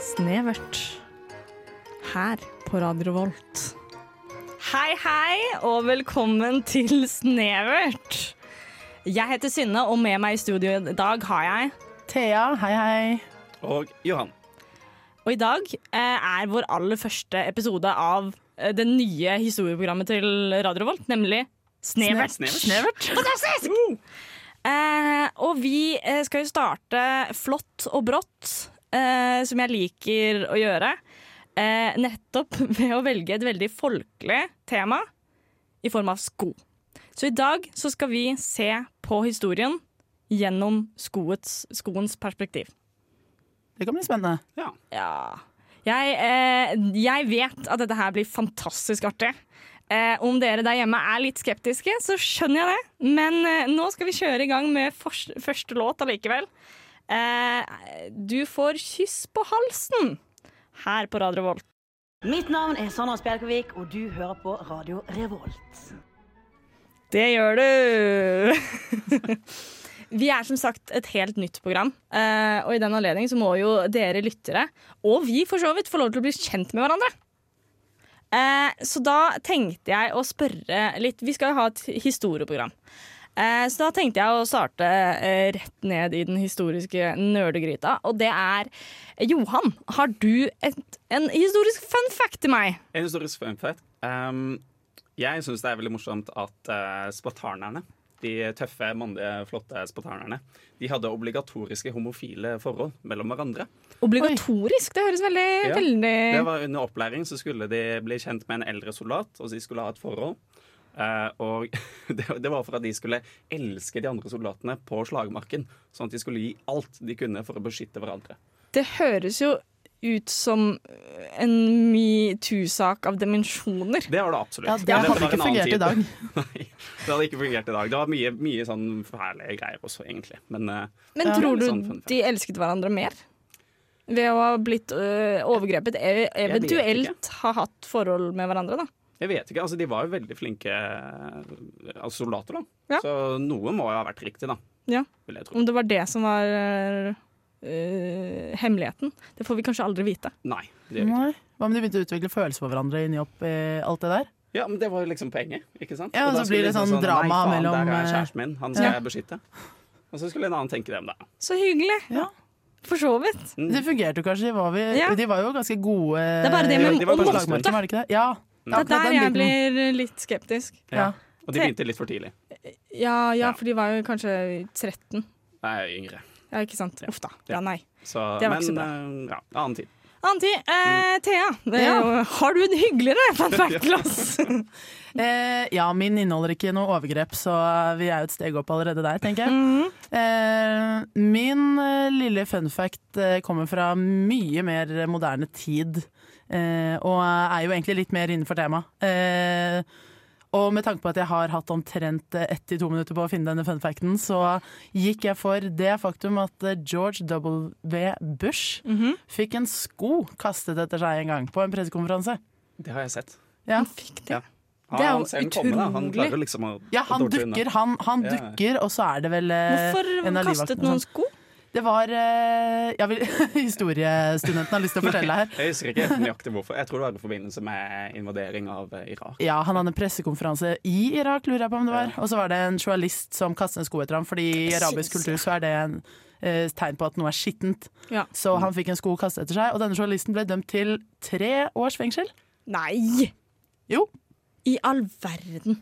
snevert her på Radio Volt. Hei, hei, og velkommen til Snevert. Jeg heter Synne, og med meg i studio i dag har jeg Thea, hei hei. Og Johan. Og i dag eh, er vår aller første episode av eh, det nye historieprogrammet til Radio Revolt, nemlig Snevert. Snevert. Fantastisk! Eh, og vi eh, skal jo starte flott og brått, eh, som jeg liker å gjøre. Eh, nettopp ved å velge et veldig folkelig tema i form av sko. Så i dag så skal vi se på historien gjennom skoets, skoens perspektiv. Det kan bli spennende. Ja. Ja. Jeg, eh, jeg vet at dette her blir fantastisk artig. Eh, om dere der hjemme er litt skeptiske, så skjønner jeg det. Men eh, nå skal vi kjøre i gang med fors- første låt allikevel. Eh, du får kyss på halsen her på Radio Volt. Mitt navn er Sandra Spjelkavik, og du hører på Radio Revolt. Det gjør du! Vi er som sagt et helt nytt program, eh, og i den anledning så må jo dere lyttere, og vi for så vidt, få lov til å bli kjent med hverandre. Eh, Så da tenkte jeg å spørre litt Vi skal jo ha et historieprogram. Eh, Så da tenkte jeg å starte eh, rett ned i den historiske nerdegryta, og det er Johan, har du et, en historisk fun fact til meg? En historisk fun fact. Um, jeg syns det er veldig morsomt at eh, spartanerne, de tøffe, mandige, flotte spartanerne, de hadde obligatoriske homofile forhold mellom hverandre. Obligatorisk? Det høres veldig, Ja, veldig Det var Under opplæring så skulle de bli kjent med en eldre soldat, og de skulle ha et forhold. Eh, og det, det var for at de skulle elske de andre soldatene på slagmarken. Sånn at de skulle gi alt de kunne for å beskytte hverandre. Det høres jo ut som en metoo-sak av dimensjoner. Det var det absolutt. Ja, det Men dette hadde var en ikke annen fungert tid. i dag. Nei, det hadde ikke fungert i dag. Det var mye, mye sånn fæle greier også, egentlig. Men eh, Men Ja. tror du Sånn fun fact. de elsket hverandre mer? Ved å ha blitt øh, overgrepet, e- vet ikke. eventuelt ha hatt forhold med hverandre, da. jeg vet ikke. Altså, de var jo veldig flinke eh, altså, soldater, da. Ja. Så noe må jo ha vært riktig, da. Ja. Vil jeg tro. Om det var det som var øh, hemmeligheten. Det får vi kanskje aldri vite. Nei. Det gjør vi ikke. Nei. Hva om de begynte å utvikle følelser for hverandre inni opp i alt det der? Ja, men det var jo liksom poenget, ikke sant? Ja, og da så blir skulle det liksom sånn drama Nei, faen, mellom, der er eh, kjæresten min. Han skal ja. jeg beskytte. Og så skulle en annen tenke det om det. Så hyggelig! Ja. For så vidt. Det fungerte jo kanskje, var vi, Mm. Ja. de var jo ganske gode Det er bare Eh, det med de var å på måtte. slagmarken. slagmarken, var det ikke det? Ja. Det er akkurat der den jeg biten. blir øh, litt skeptisk. Ja. Og de begynte litt for tidlig. Ja, ja, Ja. for de var jo kanskje 13. Jeg er yngre. Ja, ikke sant? Uff da. Ja, nei. Så, Det var men ikke så eh, ja, annen tid. Anti, eh, Thea, det er Mm. Ja. jo- har du en hyggeligere fun fact til oss? Eh, ja, min inneholder ikke noe overgrep, så vi er jo et steg opp allerede der, tenker jeg. Eh, min eh, lille fun fact eh, kommer fra mye mer moderne tid, eh, og er jo egentlig litt mer innenfor temaet. Eh, og med tanke på at jeg har hatt omtrent eh, ett til to minutter på å finne denne fun facten, så gikk jeg for det faktum at eh, George W. Bush fikk en sko kastet etter seg en gang på en pressekonferanse. Det har jeg sett. Ja. Fikk Ja. det. Ja, Det er jo han ser den komme, da. Han utrolig. klarer liksom å Ja, han å dodge unna. dukker, han, han Ja. dukker, og så er det vel eh, Hvorfor en av kastet livvaktene noen og sånn. sko? Det var eh, jeg vil, Historiestudenten har lyst til å fortelle her. Jeg husker ikke helt nøyaktig hvorfor. Jeg tror det var i forbindelse med invadering av eh, Irak. Ja, Han hadde en pressekonferanse i Irak, lurer jeg på om det var. Og så var det en journalist som kastet en sko etter ham, fordi i arabisk Syns kultur så er det en eh, tegn på at noe er skittent. Ja. Så han fikk en sko kastet etter seg, og denne journalisten ble dømt til tre års fengsel. Nei! Jo. I all verden.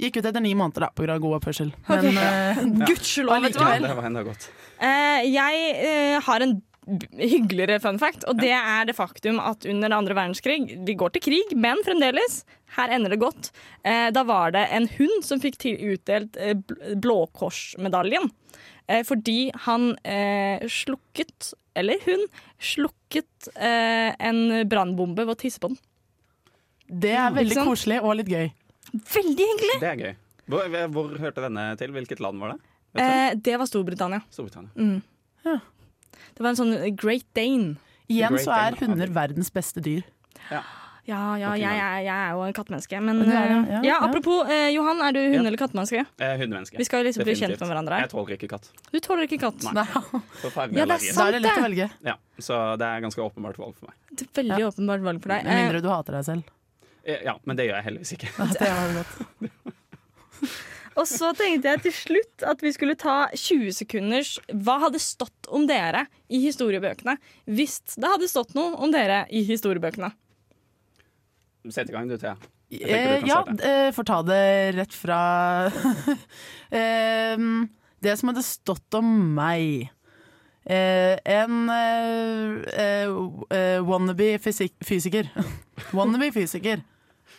Gikk ut etter ni måneder, da, på grunn av god oppførsel. Ok. Men eh, Gudskjelov, vet du hva. Ja, det var enda godt. Eh, jeg eh, har en b- hyggeligere fun fact, og det er det faktum at under andre verdenskrig Vi går til krig, men fremdeles. Her ender det godt. Eh, da var det en hund som fikk til utdelt eh, bl- Blåkorsmedaljen. Eh, fordi han eh, slukket, eller hun, slukket eh, en brannbombe ved å tisse på den. det Mm, er Ikke veldig sant? koselig og litt gøy. Veldig hyggelig! Det er gøy. Hvor, eh, hvor hørte denne til? Hvilket land var det? Vet du? Eh, mm. det var Storbritannia. Storbritannia. Det var en sånn Great Dane. Igjen Great så er Dane. hunder verdens beste dyr. Ja, ja, jeg, er- jeg er jo en kattemenneske. Men Du er det, eh, ja, ja, ja. apropos, eh, Johan, er du hund Ja. eller kattemenneske? Eh, hundemenneske. Vi skal liksom bli Definitivt. kjent med hverandre her. Jeg tåler ikke katt. Du tåler ikke katt. Nei. Nei, Forferdelig Ja, det er allergi. Da er det lett å Sant velge. Ja, så det er ganske åpenbart valg for meg. Det er veldig åpenbart valg for deg. Med Eh, mindre du hater deg selv. Eh, Ja, men det gjør jeg heldigvis ikke. Det var godt. og så tenkte jeg til slutt at vi skulle ta 20 sekunders Hva hadde stått om dere i historiebøkene hvis det hadde stått noe om dere i historiebøkene? Sett i gang, du, Thea. Jeg tenker du Eh, kan Ja, starte. eh, får ta det rett fra eh, Det som hadde stått om meg. Eh, en eh, eh, eh, wannabe fysik fysiker. wannabe fysiker.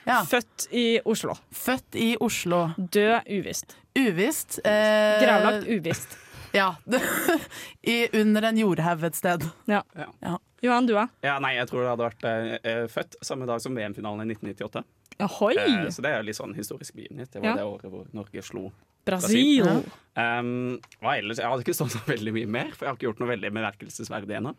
Ja. Født i Oslo. Født i Oslo. Død uvisst. Uvisst. Eh, Gravlagt uvisst. Ja. I, under en jordhaug et sted. Ja. Ja. Johan, du, da? Ja, nei, jeg tror det hadde vært eh, eh, født samme dag som VM-finalen i 1998. Ahoi! Eh, så det er jo litt sånn historisk begivenhet. Det var Ja. det året hvor Norge slo. Brasil. Ja. Um, hva ellers? Jeg hadde ikke stått så veldig mye mer, for jeg har ikke gjort noe veldig merkelsesverdig ennå.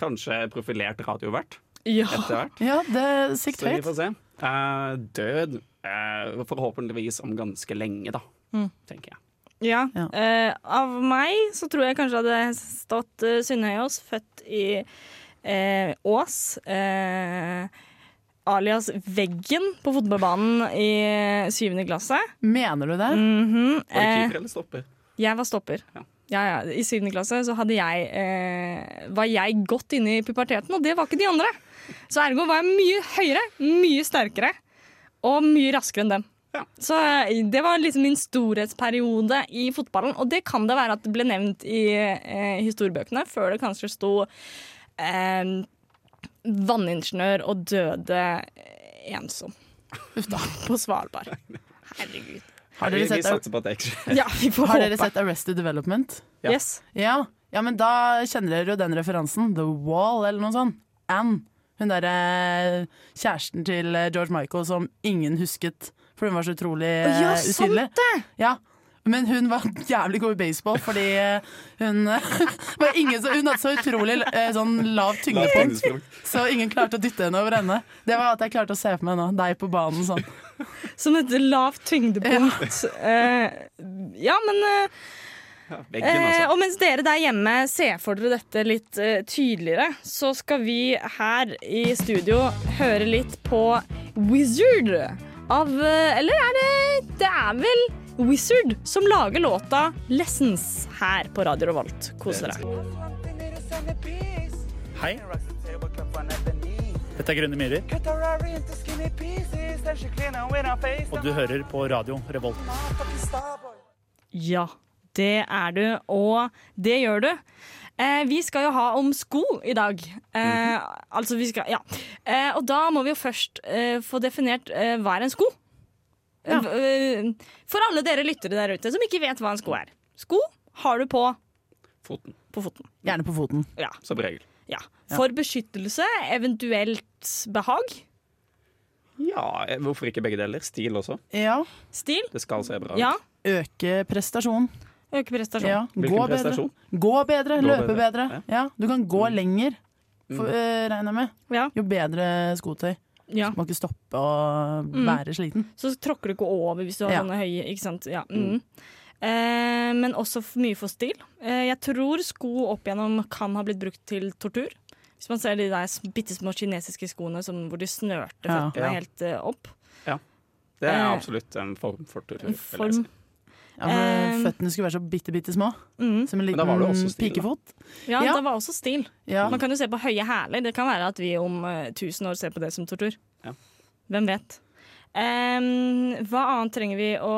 Kanskje profilert radiovert etter Ja. hvert. Ja, det er sikt Så vi høyt. får se. Eh, død eh, forhåpentligvis om ganske lenge, da. Mm. Tenker jeg. ja. Ja. Eh, av meg så tror jeg kanskje hadde stått uh, Synnøve Aas, født i eh, Ås. eh, alias Veggen på fotballbanen i eh, syvende klasse. Mener du det? Mhm. Var det Eh, keeper eller stopper? jeg var stopper. Ja. Ja, ja. I syvende klasse så hadde jeg, eh, var jeg godt inne i puberteten, og det var ikke de andre. Så ergo var jeg mye høyere, mye sterkere og mye raskere enn dem. Ja. Så eh, det var liksom min storhetsperiode i fotballen, og det kan det være at det ble nevnt i eh, historiebøkene, før det kanskje sto eh, vanningeniør og døde eh, ensom på Svalbard. Herregud. Har dere vi, vi sett, satser på at det ikke skjer. Ja, vi får har håpe. dere sett Arrested Development? Ja. Yes. Ja. ja, men da kjenner dere jo den referansen. The Wall eller noe sånt. Anne. Hun derre kjæresten til eh, George Michael som ingen husket, for hun var så utrolig eh, ja, sant usynlig. Ja, men hun var jævlig god i baseball fordi eh, hun eh, var ingen så, Hun hadde så utrolig eh, sånn lav La oss tyngdepunkt, tenke- så ingen klarte å dytte henne over ende. Det var at jeg klarte å se for meg nå. Deg på banen sånn. Som et lavt tyngdepunkt. Eh, ja, men eh, Veggen, altså. Og mens dere der hjemme ser for dere dette litt eh, tydeligere, så skal vi her i studio høre litt på Wizard av eh, Eller er det Det er vel Wizard som lager låta 'Lessons' her på Radio Revolt. Kos dere. Hei, dette er Grønne Myhrer, og du hører på radio Revolt. Ja, det er du, og det gjør du. Eh, vi skal jo ha om sko i dag. Eh, altså, vi skal Ja. Eh, og da må vi jo først eh, få definert eh, hva er en sko. Ja. Eh, For alle dere lyttere der ute som ikke vet hva en sko er. Sko har du på Foten, på foten. Gjerne på foten. Ja. som regel. ja. For beskyttelse, eventuelt behag. Ja, eh, hvorfor ikke begge deler? Stil også. Ja. Stil. Det skal se bra ut. Ja. Øke prestasjon. Øke prestasjon. Ja. Hvilken Gå bedre. prestasjon? Gå bedre, løpe bedre, bedre. Ja. Du kan gå lenger, for, Mm. eh, regner jeg med. Ja. Jo bedre skotøy. ja. Må ikke stoppe å være sliten. så tråkker du ikke over hvis du har Ja. sånne høye. Ikke sant? Ja. Mm. Eh, men også f- mye for stil. Eh, jeg tror sko opp igjennom kan ha blitt brukt til tortur. Hvis man ser de der s- bitte små kinesiske skoene som, hvor de snørte Ja. føttene Ja. helt eh, opp. Det er Eh, absolutt en form for tortur. vil En jeg si. form. Ja, for Eh. føttene skulle være så bitte, bitte små. Mm. Som en Men da var det også liten stil, da. pikefot. Ja, Ja. det var også stil. Ja. Man kan jo se på høye hæler. Det kan være at vi om eh, tusen år ser på det som tortur. Ja. Hvem vet. Em, hva annet trenger vi å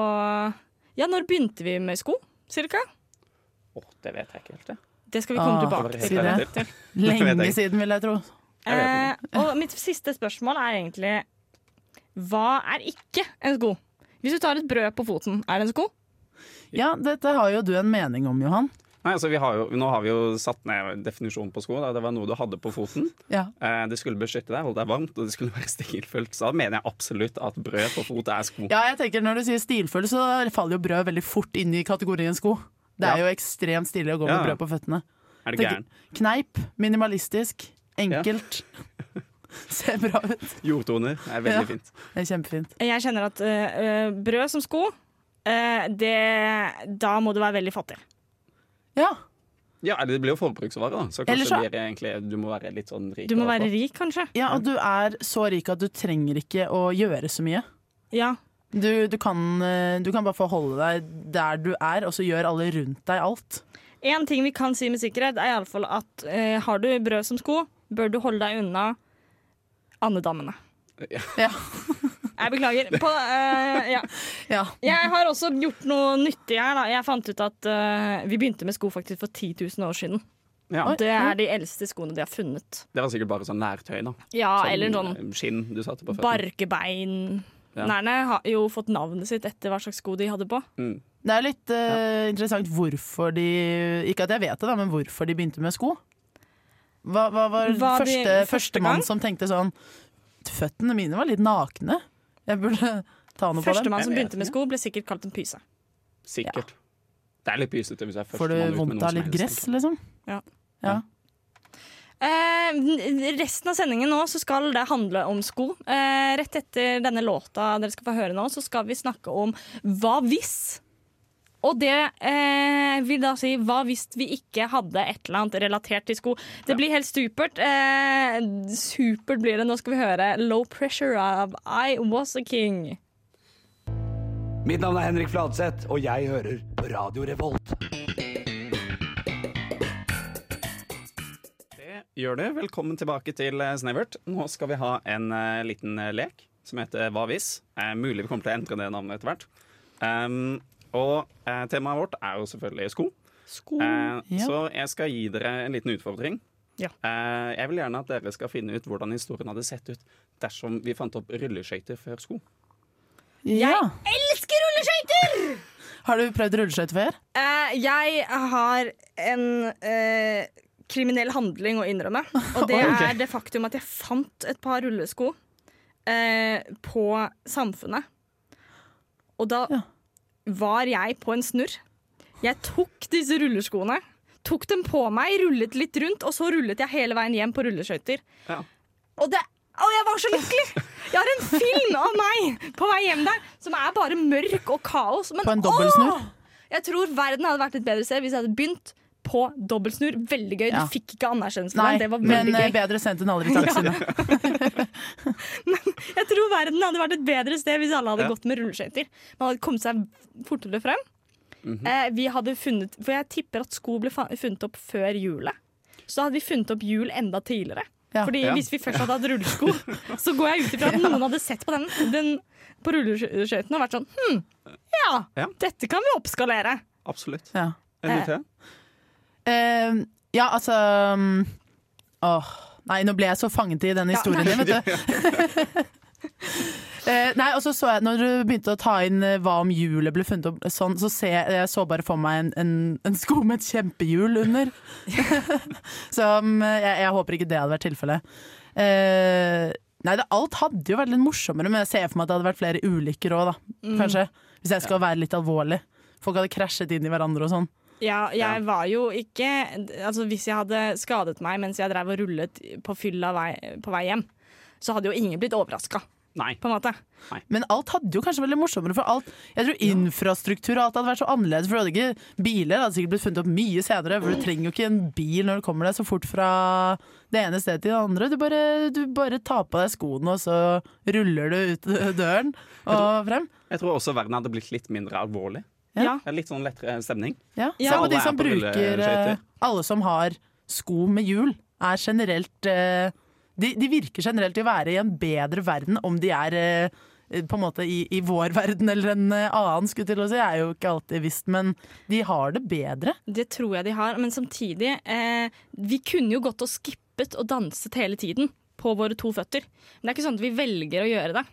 Ja, når begynte vi med sko, cirka? Åh, det vet jeg ikke helt, jeg. Det skal vi komme Ah, tilbake det til. var helt sier ærlig. jeg. Lenge siden, vil jeg tro. Jeg vet Eh, og mitt siste spørsmål er egentlig Hva er ikke en sko? Hvis du tar et brød på foten, er det en sko? Ja, dette har jo du en mening om, Johan. Nei, altså, vi har jo, nå har vi jo satt ned definisjonen på sko. Da. Det var noe du hadde på foten. Ja. Eh, det skulle beskytte deg, holde deg varmt, og det skulle være stilfullt. Så da mener jeg absolutt at brød på fot er sko. ja, jeg tenker når du sier stilfull, så faller jo brød veldig fort inn i kategorien sko. Det er Ja. jo ekstremt stilig å gå Ja. med brød på føttene. Er det Tenker, gæren? kneip, minimalistisk, enkelt. Ser bra ut. Jordtoner er Ja. veldig fint. Det er kjempefint. Jeg kjenner at eh, eh, brød som sko, eh, det, da må du være veldig fattig. Ja. Ja, eller Det blir jo forbruksvare, da. Så Eller kanskje så- blir det egentlig, du må være litt sånn rik. Du må og være flott. rik, kanskje. ja, og du er så rik at du trenger ikke å gjøre så mye. Ja. Du, du, kan, eh, du kan bare forholde deg der du er, og så gjør alle rundt deg alt. En ting vi kan si med sikkerhet, er iallfall at eh, har du brød som sko, bør du holde deg unna andedammene. Ja. Jeg beklager. På, eh, ja. ja. Jeg har også gjort noe nyttig her. Da. Jeg fant ut at eh, vi begynte med sko faktisk for 10 000 år siden. Ja, Det er de eldste skoene de har funnet. Det var sikkert bare sånn nærtøy, da. Ja, Sånn, Eller sånn eh, Skinn du satte på føttene. barkebein. Ja. Nærne har jo fått navnet sitt etter hva slags sko de hadde på. Mm. Det er litt eh, interessant hvorfor de Ikke at jeg vet det, da, men hvorfor de begynte med sko. Hva, hva var, Var de første, første gang? førstemann som tenkte sånn Føttene mine var litt nakne. Jeg burde ta noe på dem. Førstemann som Jeg vet begynte med sko, ble sikkert kalt en pyse. Sikkert. Det er litt pysete hvis jeg er Får du førstemann ut med noe vondt av som litt helst, gress, altså. liksom? Ja. Ja. Eh, resten av sendingen nå så skal det handle om sko. Eh, rett etter denne låta dere skal få høre nå, så skal vi snakke om hva hvis. Og det eh, vil da si hva hvis vi ikke hadde et eller annet relatert til sko. Det blir helt supert. Eh, supert blir det. Nå skal vi høre Low Pressure av I Was A King. Mitt navn er Henrik Fladseth, og jeg hører på Radio Revolt. Det gjør du. Velkommen tilbake til eh, Snevert. Nå skal vi ha en eh, liten eh, lek som heter Hva hvis? Eh, mulig vi kommer til å endre det navnet etter hvert. Um, og eh, temaet vårt er jo selvfølgelig sko. Sko. Eh, Ja. Så jeg skal gi dere en liten utfordring. Ja. Eh, jeg vil gjerne at dere skal finne ut hvordan historien hadde sett ut dersom vi fant opp rulleskøyter før sko. ja. Elsker rulleskøyter! Har du prøvd rulleskøyter før? Eh, jeg har en eh, kriminell handling å innrømme. Og det Ok. er det faktum at jeg fant et par rullesko eh, på Samfunnet. Og da Ja. var jeg på en snurr. Jeg tok disse rulleskoene, tok dem på meg, rullet litt rundt, og så rullet jeg hele veien hjem på rulleskøyter. Ja. Og det og jeg var så lykkelig! Jeg har en film av meg på vei hjem der som er bare mørk og kaos. Men På en dobbeltsnurr? åh! Jeg tror verden hadde vært et bedre sted hvis jeg hadde begynt på dobbeltsnurr. Veldig gøy. Ja. Du fikk ikke anerkjennelse for Nei, den. Det var men veldig eh, gøy. bedre sendt enn aldri takk, Sunne. Jeg tror verden hadde vært et bedre sted hvis alle hadde Ja. gått med rulleskøyter. Man hadde kommet seg fortere frem. Mhm. eh, vi hadde funnet For jeg tipper at sko ble fa- funnet opp før hjulet. Så da hadde vi funnet opp hjul enda tidligere. Ja. Fordi Ja. Hvis vi først hadde hatt rullesko, så går jeg ut ifra at noen hadde sett på den, den på rulleskøytene og vært sånn Hm, ja, Ja. dette kan vi oppskalere. Absolutt. Ja. En ny til? Eh, ja, altså mm, Åh, nei, nå ble jeg så fanget i den historien din, vet du. Eh, nei, og så så jeg, når du begynte å ta inn eh, hva om hjulet ble funnet opp, sånn, så ser jeg, jeg så bare for meg en, en, en sko med et kjempehjul under. Som eh, jeg, jeg håper ikke det hadde vært tilfellet. Eh, nei, det, alt hadde jo vært litt morsommere, men jeg ser for meg at det hadde vært flere ulykker òg, da. Kanskje. Hvis jeg skal være litt alvorlig. Folk hadde krasjet inn i hverandre og sånn. Ja, jeg Ja. var jo ikke Altså Hvis jeg hadde skadet meg mens jeg drev og rullet på fylla vei, på vei hjem, så hadde jo ingen blitt overraska, Nei. på en måte. Men alt hadde jo kanskje vært litt morsommere, for alt, jeg tror infrastruktur og alt hadde vært så annerledes. For du hadde ikke biler, det hadde sikkert blitt funnet opp mye senere, for du trenger jo ikke en bil når du kommer deg så fort fra det ene stedet til det andre. Du bare, du bare tar på deg skoene, og så ruller du ut døren og frem. Jeg tror også verden hadde blitt litt mindre alvorlig. Ja. Ja. Det er Litt sånn lettere stemning. Ja. Ja. Se på Alle de er som på bruker rulleskøyter. eh, Alle som har sko med hjul, er generelt eh, de, de virker generelt til å være i en bedre verden om de er eh, på en måte i, i vår verden eller en eh, annen, skulle jeg til å si. Jeg er jo ikke alltid visst, men de har det bedre. Det tror jeg de har. Men samtidig, eh, vi kunne jo gått og skippet og danset hele tiden på våre to føtter. Men det er ikke sånn at vi velger å gjøre det.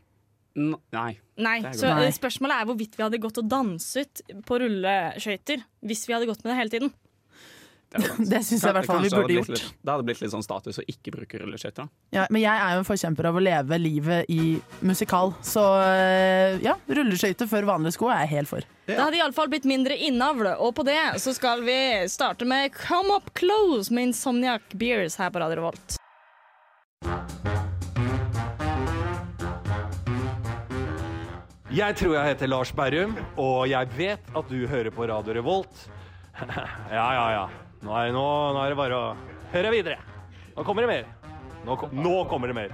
N- Nei. Nei, Det er så godt. eh, Spørsmålet er hvorvidt vi hadde gått og danset på rulleskøyter hvis vi hadde gått med det hele tiden. Det er sant. Det syns jeg i hvert fall vi Kanskje burde det hadde blitt gjort. Litt, det hadde blitt litt sånn status å ikke bruke rulleskøyter. da. Ja, men jeg er jo en forkjemper av å leve livet i musikal, så eh, ja, rulleskøyter før vanlige sko er jeg helt for. Det hadde iallfall blitt mindre innavl, og på det så skal vi starte med Come Up Close med Insomniac Beers her på Radio Revolt. Jeg tror jeg heter Lars Berrum, og jeg vet at du hører på Radio Revolt. Ja, ja, ja. Nå er, nå, nå er det bare å høre videre. Nå kommer det mer. Nå, kom, nå kommer det mer.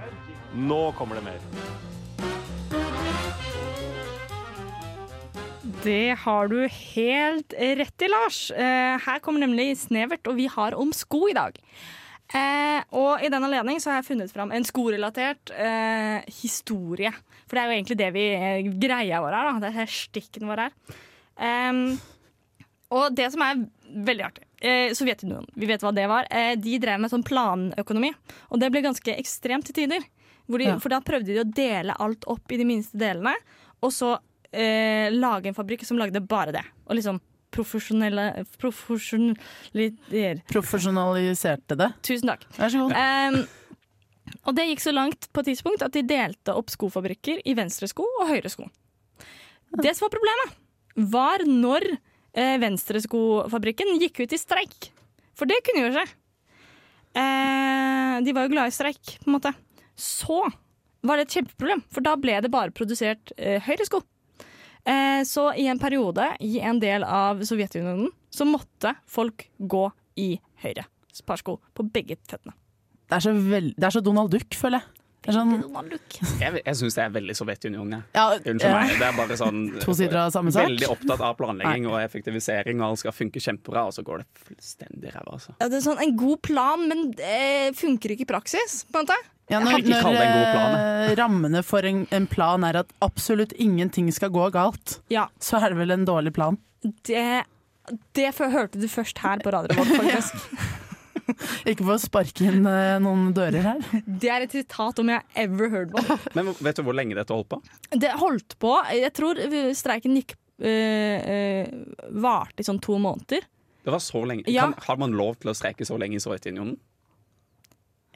Nå kommer det mer. Det har du helt rett i, Lars. Eh, her kommer nemlig Snevert, og vi har om sko i dag. Eh, og i den anledning så har jeg funnet fram en skorelatert eh, historie. For det er jo egentlig det vi eh, greia vår er, da. Det er stikken vår her. Em, og det som er veldig artig eh, Sovjetunionen, vi vet hva det var. Eh, de drev med sånn planøkonomi, og det ble ganske ekstremt til tider. Hvor de, Ja. For da prøvde de å dele alt opp i de minste delene, og så eh, lage en fabrikk som lagde bare det. Og liksom profesjonelle Profesjonalitet Profesjonaliserte det. Tusen takk. Vær så god. Ehm, og det gikk så langt på et tidspunkt at de delte opp skofabrikker i venstre sko og høyre sko. Det som var problemet, var når eh, venstreskofabrikken gikk ut i streik. For det kunne jo skje. Eh, de var jo glade i streik, på en måte. Så var det et kjempeproblem, for da ble det bare produsert eh, høyre sko. Eh, så i en periode i en del av Sovjetunionen så måtte folk gå i høyre sparsko på begge føttene. Det er så, veld... det er så Donald Duck, føler jeg. Det er sånn... Jeg, jeg syns det er veldig Sovjetunionen, jeg. ja, Unnskyld ja. meg. Det er bare sånn To sider av samme sak. Veldig opptatt av planlegging og effektivisering, og alt skal funke kjempebra, og så går det fullstendig ræva, altså. Ja, det er sånn en god plan, men det funker ikke i praksis, på en måte. Ja, når Jeg vil ikke kalle det en god plan, når, eh, rammene for en, en plan er at absolutt ingenting skal gå galt, Ja, så er det vel en dårlig plan. det, det før- hørte du først her på Radio Revolt, faktisk. Ikke for å sparke inn eh, noen dører her. Det er et sitat om jeg ever heard one. Men vet du hvor lenge dette holdt på? Det holdt på, jeg tror streiken gikk øh, øh, varte i sånn to måneder. Det var så lenge Ja. kan, Har man lov til å streike så lenge i Sovjetunionen?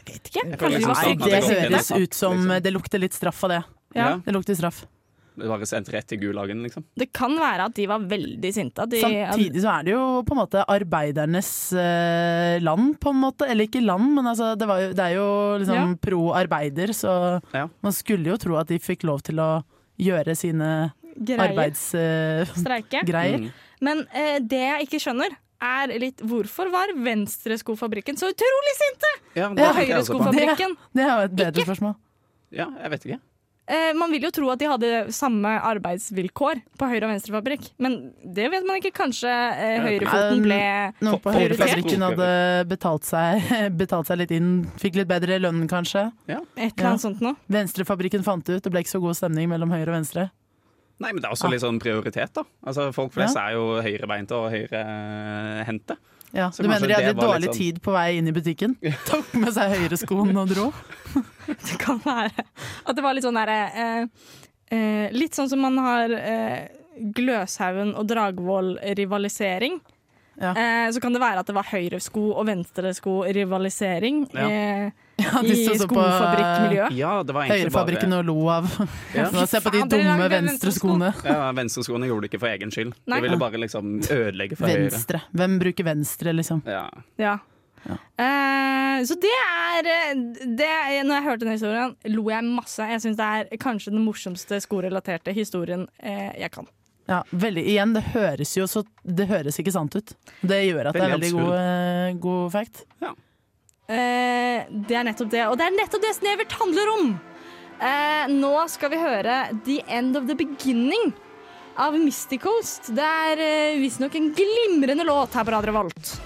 Jeg vet ikke. Jeg føler Kanskje de var liksom syke. sånn Det at går høres ikke inn i ut som liksom. Det lukter litt straff av det. Ja. Ja. Det lukter straff. Det var sendt rett til gulagen, liksom. Det kan være at de var veldig sinte. At de, Samtidig så er det jo på en måte arbeidernes eh, land, på en måte. Eller ikke land, men altså, det, var jo, det er jo liksom Ja. pro arbeider, så Ja. man skulle jo tro at de fikk lov til å gjøre sine eh, greier, arbeidsgreier. streike. Mm. Men eh, det jeg ikke skjønner, er litt hvorfor var venstreskofabrikken så utrolig sinte? Ja, det Ja, tenker jeg også på. høyreskofabrikk. Fabrikken. Det, det er jo et bedre Ikke. spørsmål. Ja, jeg vet ikke. Eh, man vil jo tro at de hadde samme arbeidsvilkår på høyre- og venstrefabrikk, men det vet man ikke. Kanskje eh, høyrefoten ble Noen på Få- Høyrefabrikken prioritert. hadde betalt seg, betalt seg litt inn, fikk litt bedre lønn kanskje. et eller annet sånt noe. Venstrefabrikken fant det ut, det ble ikke så god stemning mellom høyre og venstre. Nei, men det er Ah. også litt sånn prioritet, da. Altså, folk flest er jo høyrebeinte og høyrehendte. Ja, Så du mener kanskje de hadde det var litt dårlig sånn- tid på vei inn i butikken? Tok med seg høyreskoen og dro? Det kan være at det var litt sånn derre eh, eh, Litt sånn som man har eh, Gløshaugen og Dragvoll-rivalisering. Ja. Eh, så kan det være at det var høyresko og venstresko-rivalisering Ja. eh, Ja, de i sto så på eh, skofabrikkmiljøet. Ja, det var egentlig Ah. Høyrefabrikken og lo av Ja. Nå, Se på de Faen, dere dumme lagde venstreskoene. bare ja, Venstreskoene gjorde det ikke for egen skyld. Nei. De ville bare liksom ødelegge for høyre. Venstre. Hvem bruker venstre, liksom? Ja. Ja. Eh, så det er eh, det, Når jeg hørte den historien, lo jeg masse. Jeg syns det er kanskje den morsomste skorelaterte historien eh, jeg kan. Ja, veldig, igjen, det høres jo så Det høres ikke sant ut. Det gjør at det er Veldig veldig god, eh, god fact. Eh, det er nettopp det. Og det er nettopp det Snevert handler om! Eh, nå skal vi høre The End of the Beginning av Mystic Coast. Det er uh, visstnok en glimrende låt her på Radio Volt.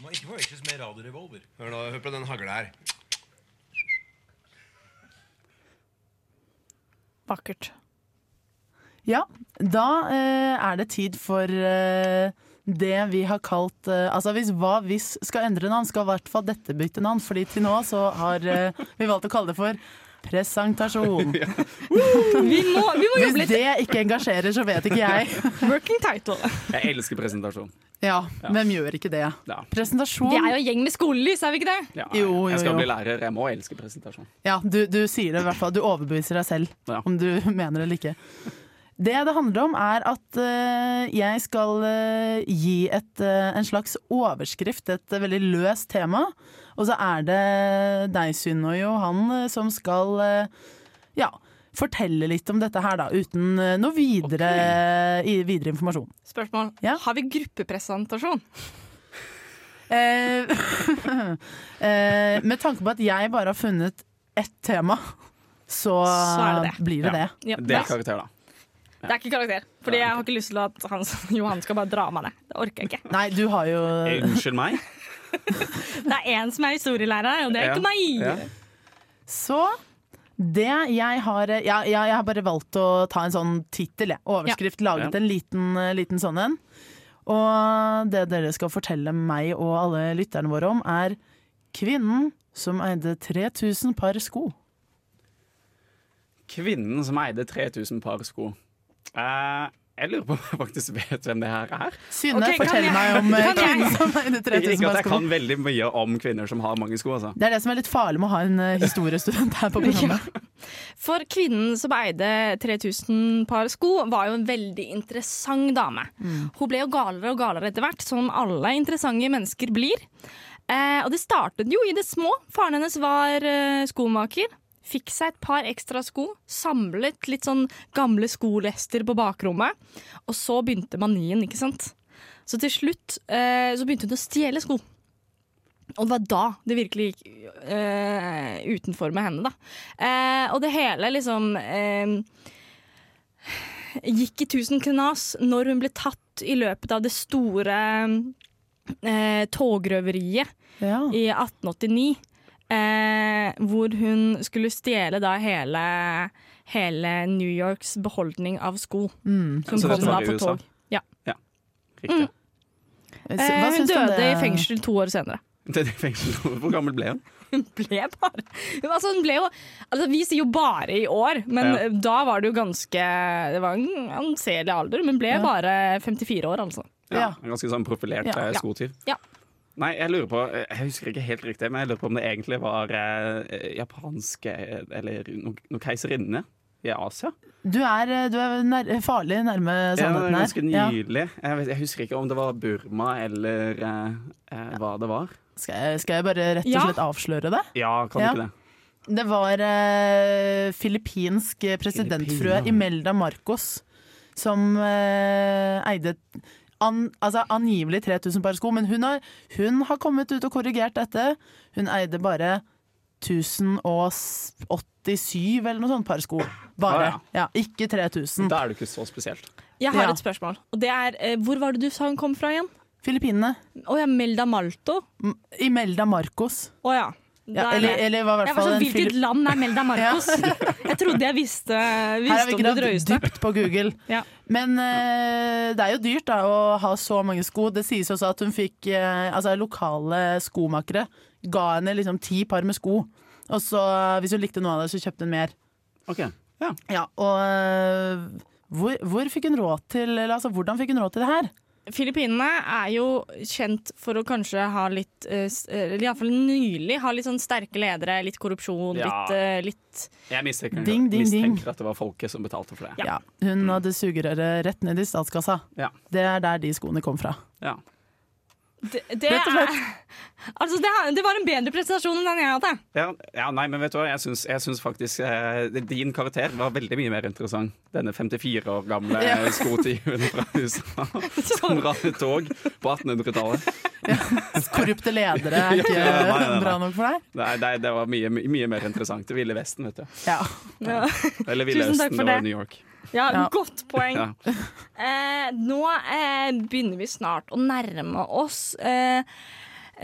Må ikke forveksles med radiorevolver. Hør nå, hør på den hagla her. Vakkert. Ja, da eh, er det tid for eh, det vi har kalt eh, Altså hvis hva hvis skal endre navn, skal i hvert fall dette bytte navn. Fordi til nå så har eh, vi valgt å kalle det for presentasjon. Vi må, vi må jobbe Hvis litt. det ikke engasjerer, så vet ikke jeg. Working title. Jeg elsker presentasjon. Ja, hvem gjør ikke det? Ja. Vi Presentasjon. er jo en gjeng med skolelys, er vi ikke det? Ja, Jo, jo, jeg skal jo. bli lærer. Jeg må elske presentasjon. Ja, du, du sier det i hvert fall. Du overbeviser deg selv, Ja. om du mener det eller ikke. Det det handler om, er at eh, jeg skal eh, gi et, eh, en slags overskrift, et veldig løst tema. Og så er det deg, Synne og Johan, eh, som skal eh, ja, fortelle litt om dette her, da. Uten eh, noe videre, i, videre informasjon. Spørsmål. Ja. Har vi gruppepresentasjon? Eh, eh, med tanke på at jeg bare har funnet ett tema, så, Så er det det. blir det Ja. det. Ja. Det Det, er karakter, da. er ikke karakter. Fordi jeg har ikke lyst til at han, Johan skal bare dra meg ned. Det orker jeg ikke. Nei, du har jo Unnskyld meg. Det er én som er historielærer, og det er Ja. ikke meg! Ja. Så det jeg har jeg, jeg, jeg har bare valgt å ta en sånn tittel, jeg. Overskrift. Laget Ja. en liten, eh, liten sånn en. Og det dere skal fortelle meg og alle lytterne våre om, er kvinnen som eide 3000 par sko. Kvinnen som eide 3000 par sko. Eh, jeg lurer på om jeg faktisk vet hvem det her er. Synne, Ok, kan fortell jeg- meg om eh, kan jeg- kvinnen som eide Ikke 3000 at par jeg sko. kan veldig mye om kvinner som har mange sko. Altså. Det er det som er litt farlig med å ha en eh, historiestudent her på programmet. For kvinnen som eide 3000 par sko, var jo en veldig interessant dame. Hun ble jo galere og galere etter hvert, som alle interessante mennesker blir. Eh, og det startet jo i det små. Faren hennes var eh, skomaker. Fikk seg et par ekstra sko, samlet litt sånn gamle skolester på bakrommet. Og så begynte manien, ikke sant. Så til slutt eh, så begynte hun å stjele sko. Og det var da det virkelig gikk eh, utenfor med henne, da. Eh, og det hele liksom eh, gikk i tusen knas når hun ble tatt i løpet av det store eh, togrøveriet Ja. i 1889. Eh, hvor hun skulle stjele da hele, hele New Yorks beholdning av sko. Mm. Som Så kom dette da var i på USA? tog. Ja. Riktig. Hva Eh, hun syns du om døde i fengsel to år senere. Det er fengsel. Hvor gammel ble hun? ble bare altså, hun ble jo, altså, Vi sier jo bare i år, men Ja. da var det jo ganske Det var en anselig alder, men ble Ja. bare 54 år, altså. Ja. Ja, en ganske sånn profilert Ja. eh, Ja. skotyv. Ja. Nei, jeg lurer på eh, Jeg husker ikke helt riktig, men jeg lurer på om det egentlig var eh, japanske eh, Eller noen noen keiserinne i Asia. Du er, eh, du er nær, farlig nærme Ja, det sannheten var her. ganske nylig. Jeg, vet, jeg husker ikke om det var Burma eller eh, eh, hva det var. Skal, jeg, skal jeg bare rett og Ja. slett avsløre det? Ja, kan Ja. du ikke det? Det var eh, filippinsk presidentfrue Filippinene. Imelda Marcos som eh, eide an, altså angivelig 3000 par sko, men hun har, hun har kommet ut og korrigert dette. Hun eide bare 1087 eller noe sånt par sko. Bare. Ah, ja. ikke 3000. Da er det ikke så spesielt. Jeg har Ja. et spørsmål. Og det er, eh, Hvor var det du sa hun kom fra igjen? Filippinene. Å ja, Melda Malto? M- Imelda Marcos. Å ja. Da Ja, er eller, det- eller var i jeg hvert var fall sånn, en Hvilket Filip- land er Melda Marcos? Jeg trodde jeg visste, Her har visste vi om det gravd drøyeste. dypt på Google. Ja. Men eh, det er jo dyrt da, å ha så mange sko. Det sies også at hun fikk eh, altså, lokale skomakere ga henne liksom ti par med sko. Og så eh, hvis hun likte noe av det, så kjøpte hun mer. Ok, ja. Ja, og eh, hvor, hvor fikk hun råd til eller, altså, Hvordan fikk hun råd til det her? Filippinene er jo kjent for å kanskje ha litt eh, s- eh, Eller iallfall nylig ha litt sånn sterke ledere, litt korrupsjon, Ja. litt, eh, litt Jeg mistenker, Ding, ding, mistenker ding. at det var folket som betalte for det. Ja, Hun hadde sugerøret rett ned i statskassa. Ja. Det er der de skoene kom fra. Ja. Det, det, Rett og er, altså det, er- det var en bedre presentasjon enn den jeg hadde. Ja, ja, nei, men vet du hva? Jeg syns, jeg syns faktisk eh, din karakter var veldig mye mer interessant. Denne 54 år gamle Ja. skotyven fra USA som Så, rann et tog på 1800-tallet. Korrupte ledere er ikke Ja, nei, nei, nei. bra nok for deg? Nei, nei, det var mye, my- mye mer interessant. Det ville Vesten, vet du. Ja. ja. Eller Ville Tusen takk Østen, for det var det. New York. ja, Ja. godt poeng. Ja. Eh, nå eh, begynner vi snart å nærme oss eh,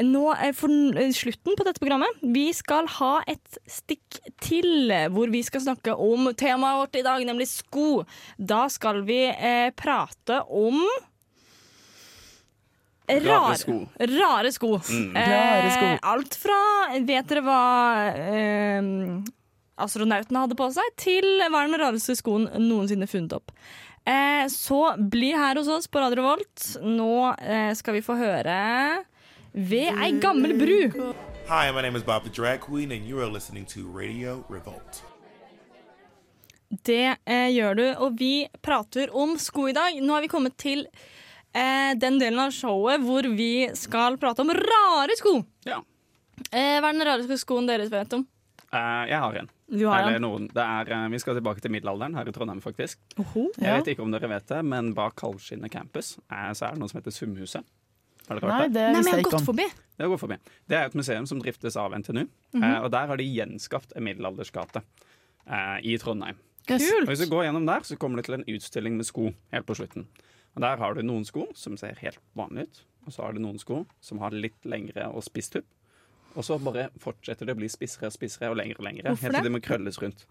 nå eh, for eh, slutten på dette programmet. Vi skal ha et stikk til eh, hvor vi skal snakke om temaet vårt i dag, nemlig sko. Da skal vi eh, prate om Rare sko. Rare Mm. sko. Rare sko. alt fra Vet dere hva eh, astronautene hadde på seg, til hva er den rareste skoen noensinne funnet opp. Eh, så bli her hos oss på Radio Revolt. Nå eh, skal vi få høre Ved ei gammel bru. Hi, my name is Bob the Drag Queen, and you are listening to Radio Revolt. Det eh, gjør du, og vi prater om sko i dag. Nå har vi kommet til eh, den delen av showet hvor vi skal prate om rare sko. Ja. Eh, hva er den rareste skoen deres vet om? Eh, jeg har en. Du har Eller den. noen. Det er, eh, vi skal tilbake til middelalderen her i Trondheim, faktisk. Oho. Jeg vet ikke om dere vet det, men bak Kalvskinnet campus eh, så er det noe som heter Sumhuset. Har dere hørt Nei, det? det Nei, men visste jeg jeg har ikke gått om. forbi. Det går forbi. Det er et museum som driftes av NTNU, eh, og der har de gjenskapt en middelaldersgate eh, i Trondheim. Og hvis du går gjennom der, så kommer du til en utstilling med sko helt på slutten. Og der har du noen sko som ser helt vanlige ut, og så har du noen sko som har litt lengre og spisst tupp. Og så bare fortsetter det å bli spissere og spissere og lengre og lengre. Hvorfor helt det? til de må krølles rundt.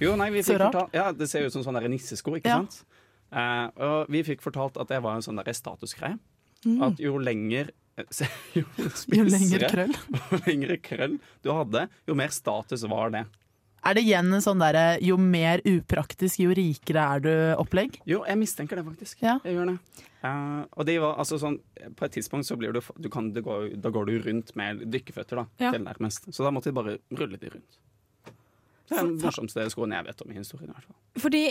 Jo, nei, vi Så fikk rart. fortalt, ja, det ser jo ut som sånne der nissesko, ikke Ja. sant? Eh, og vi fikk fortalt at det var en sånn der statusgreie. At jo lenger eh, Jo, Mm. Jo lenger spissere krøll. jo lengre krøll du hadde, jo mer status var det. Er det igjen en sånn derre jo mer upraktisk, jo rikere er du-opplegg? Jo, jeg mistenker det faktisk. Ja. Jeg gjør det. Eh, og det var altså sånn På et tidspunkt så blir du, du kan, det går, Da går du rundt med dykkeføtter, da. Ja. Til nærmest. Så da måtte de bare rulle de rundt. Det er den morsomste skoen jeg vet om i historien. i hvert fall Fordi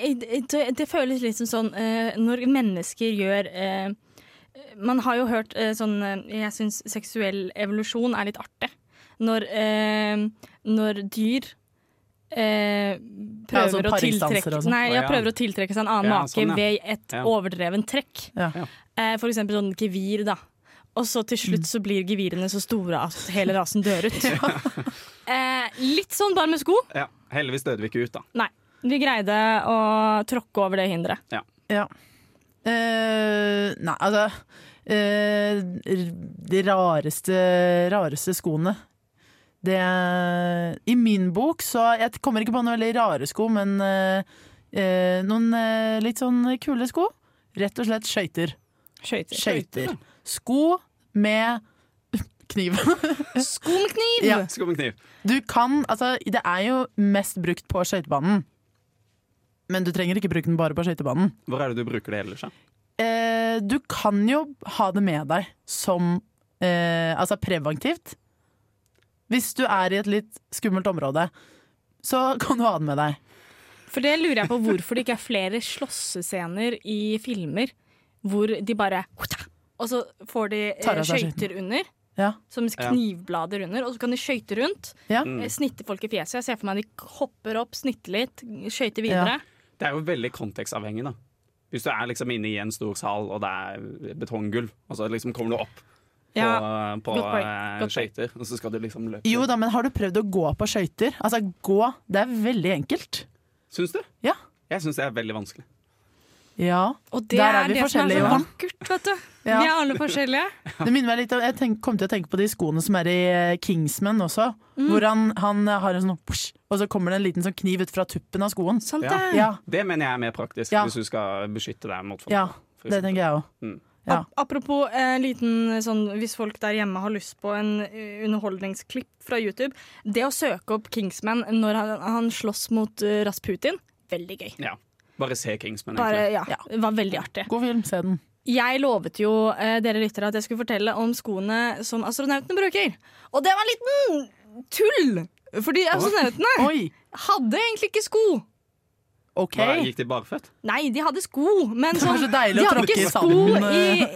det, det føles litt som sånn eh, Når mennesker gjør eh, Man har jo hørt eh, sånn eh, Jeg syns seksuell evolusjon er litt artig. Når, eh, når dyr eh, Ja, sånn prøver, å, paringsdanser tiltrekke, og sånn. nei, ja, Å, ja. prøver å tiltrekke seg en annen Ja, make sånn, ja. ved et Ja. overdreven trekk. Ja. Ja. Eh, for eksempel sånn gevir, da. Og så til slutt Mm. så blir gevirene så store at hele rasen dør ut. eh, litt sånn bare med sko. Ja, Heldigvis døde vi ikke ut, da. Nei. Vi greide å tråkke over det hinderet. Ja. Eh, nei, altså eh, r- De rareste, rareste skoene Det I min bok så Jeg kommer ikke på noen veldig rare sko, men eh, eh, noen eh, litt sånn kule sko. Rett og slett skøyter. Skøyter. Skøyter. Sko med kniv. Sko med kniv! ja. Sko med kniv. Du kan Altså, det er jo mest brukt på skøytebanen. Men du trenger ikke bruke den bare på skøytebanen. Hvor er det du bruker det ellers? da? eh, du kan jo ha det med deg som eh, Altså preventivt. Hvis du er i et litt skummelt område, så kan du ha det med deg. For det lurer jeg på hvorfor det ikke er flere slåssescener i filmer hvor de bare Og så får de eh, Tar av seg skøyter under. Ja. Som knivblader under, og så kan de skøyte rundt. Ja. eh, Snitte folk i fjeset. Jeg ser for meg de hopper opp, snitter litt, skøyter videre. Det er jo veldig kontekstavhengig, da. Hvis du er liksom inne i en stor sal, og det er betonggulv, og så liksom kommer du opp på, Ja, på godt poeng, eh, godt poeng. skøyter, og så skal du liksom løpe. Jo da, men har du prøvd å gå på skøyter? Altså gå, det er veldig enkelt. Syns du? Ja. Jeg syns det er veldig vanskelig. ja. Og det Der er, er vi det som er forskjellige, så Johan. vakkert, vet du. Ja. Vi er alle forskjellige. Det minner meg litt om Jeg tenk, kom til å tenke på de skoene som er i eh, Kingsman også. Mm. Hvor han, han har en sånn push, og så kommer det en liten sånn kniv ut fra tuppen av skoen. Sant Ja. Sånn det? Ja, Det mener jeg er mer praktisk Ja. hvis du skal beskytte deg mot folk. ja for det eksempel. tenker jeg òg. Ja. Ap- Apropos eh, liten sånn, hvis folk der hjemme har lyst på en eh, underholdningsklipp fra YouTube. Det å søke opp Kingsman når han, han slåss mot eh, Rasputin, veldig gøy. Ja. Bare se Kingsman, Bare, egentlig. ja, Ja. Det var veldig artig. God film, se den. Jeg lovet jo eh, dere lyttere at jeg skulle fortelle om skoene som astronautene bruker. Og det var en liten tull! Fordi astronautene Oi! hadde egentlig ikke sko. OK. Hva, gikk de barføtt? Nei, de hadde sko, men var sånn, så deilig de å hadde tråkke ikke i eh, sko sanden,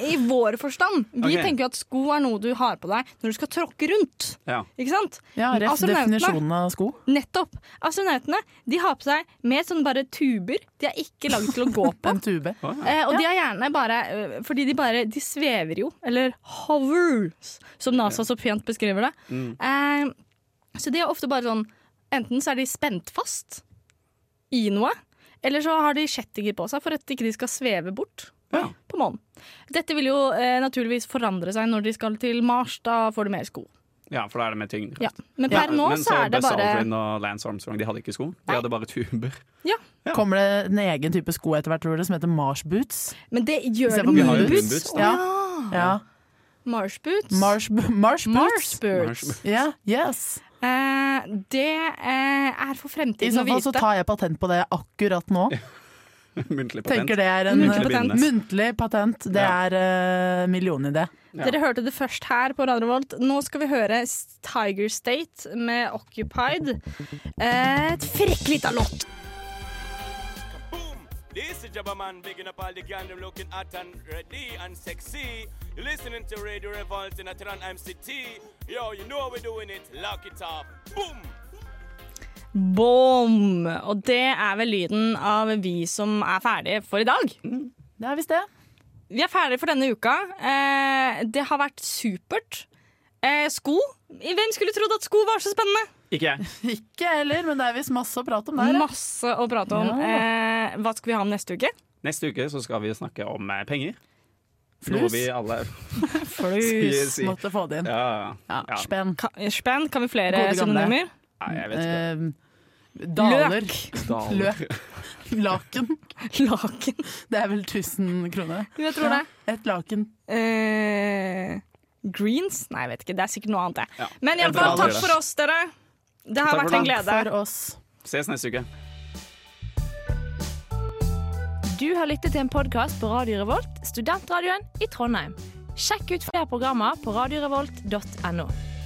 i, i vår forstand. Vi Ok. tenker jo at sko er noe du har på deg når du skal tråkke rundt. Ja. Ikke sant? Ja, rett Astronautene- definisjonen av sko. Nettopp. Astronautene de har på seg mer sånn bare tuber. De er ikke lagd til å gå på. En tube. Eh, og de er gjerne bare eh, Fordi de bare De svever jo. Eller hovers, som NASA så pent beskriver det. Mm. Eh, så de er ofte bare sånn Enten så er de spent fast i noe, eller så har de kjettinger på seg for at ikke de skal sveve bort. Ja. På månen. Dette vil jo eh, naturligvis forandre seg når de skal til Mars. Da får du mer sko. ja, for da er det med tyngde. Ja. Men per nå men så er det Buzz bare Aldrin og Lance Armstrong de hadde ikke sko. De hadde bare tuber. ja. Kommer det en egen type sko etter hvert, tror du, som heter Mars boots? Men det gjør Se det på med Moon moonboots. Boots, Å da. ja. Ja. Marshboots. Mars, b- Mars boots. Marshboots. Ja, yes. Eh, Eh, det eh, er for I fremtiden så å fall så vite. tar jeg patent på det akkurat nå. Muntlig patent. Tenker det er en eh, Muntlig muntlig patent. patent. Det Ja. er eh, millionidé. Dere hørte det først her på Radio Volt. Nå skal vi høre S- Tiger State med Occupied. Eh, Et frekk lita låt. Boom! Og det er vel lyden av vi som er ferdige for i dag. Det er visst det. Vi er ferdige for denne uka. Eh, det har vært supert. Eh, sko? Hvem skulle trodd at sko var så spennende? Ikke jeg. Ikke jeg heller, men det er visst masse å prate om der. ja. Masse å prate om. Ja. Eh, hva skal vi ha om neste uke? Neste uke så skal vi snakke om eh, penger. Noe Flus. vi alle Flus si- måtte få det inn. Ja, Ja, ja. Spenn. Ka spenn? Kan vi flere Gode gamle. synonymer? Nei, jeg vet ikke. Eh, daler. Daler. Løk. Laken. Laken. Det er vel 1000 kroner. Jeg tror det. Et laken. Eh, greens? Nei, jeg vet ikke. Det er sikkert noe annet. jeg. Ja. Men Jeg iallfall, tror takk det. for oss, dere. Det har Takk for vært en det. glede. For oss. Ses neste uke. Du har lyttet til en podkast på Radio Revolt, studentradioen i Trondheim. Sjekk ut flere programmer på radiorevolt.no.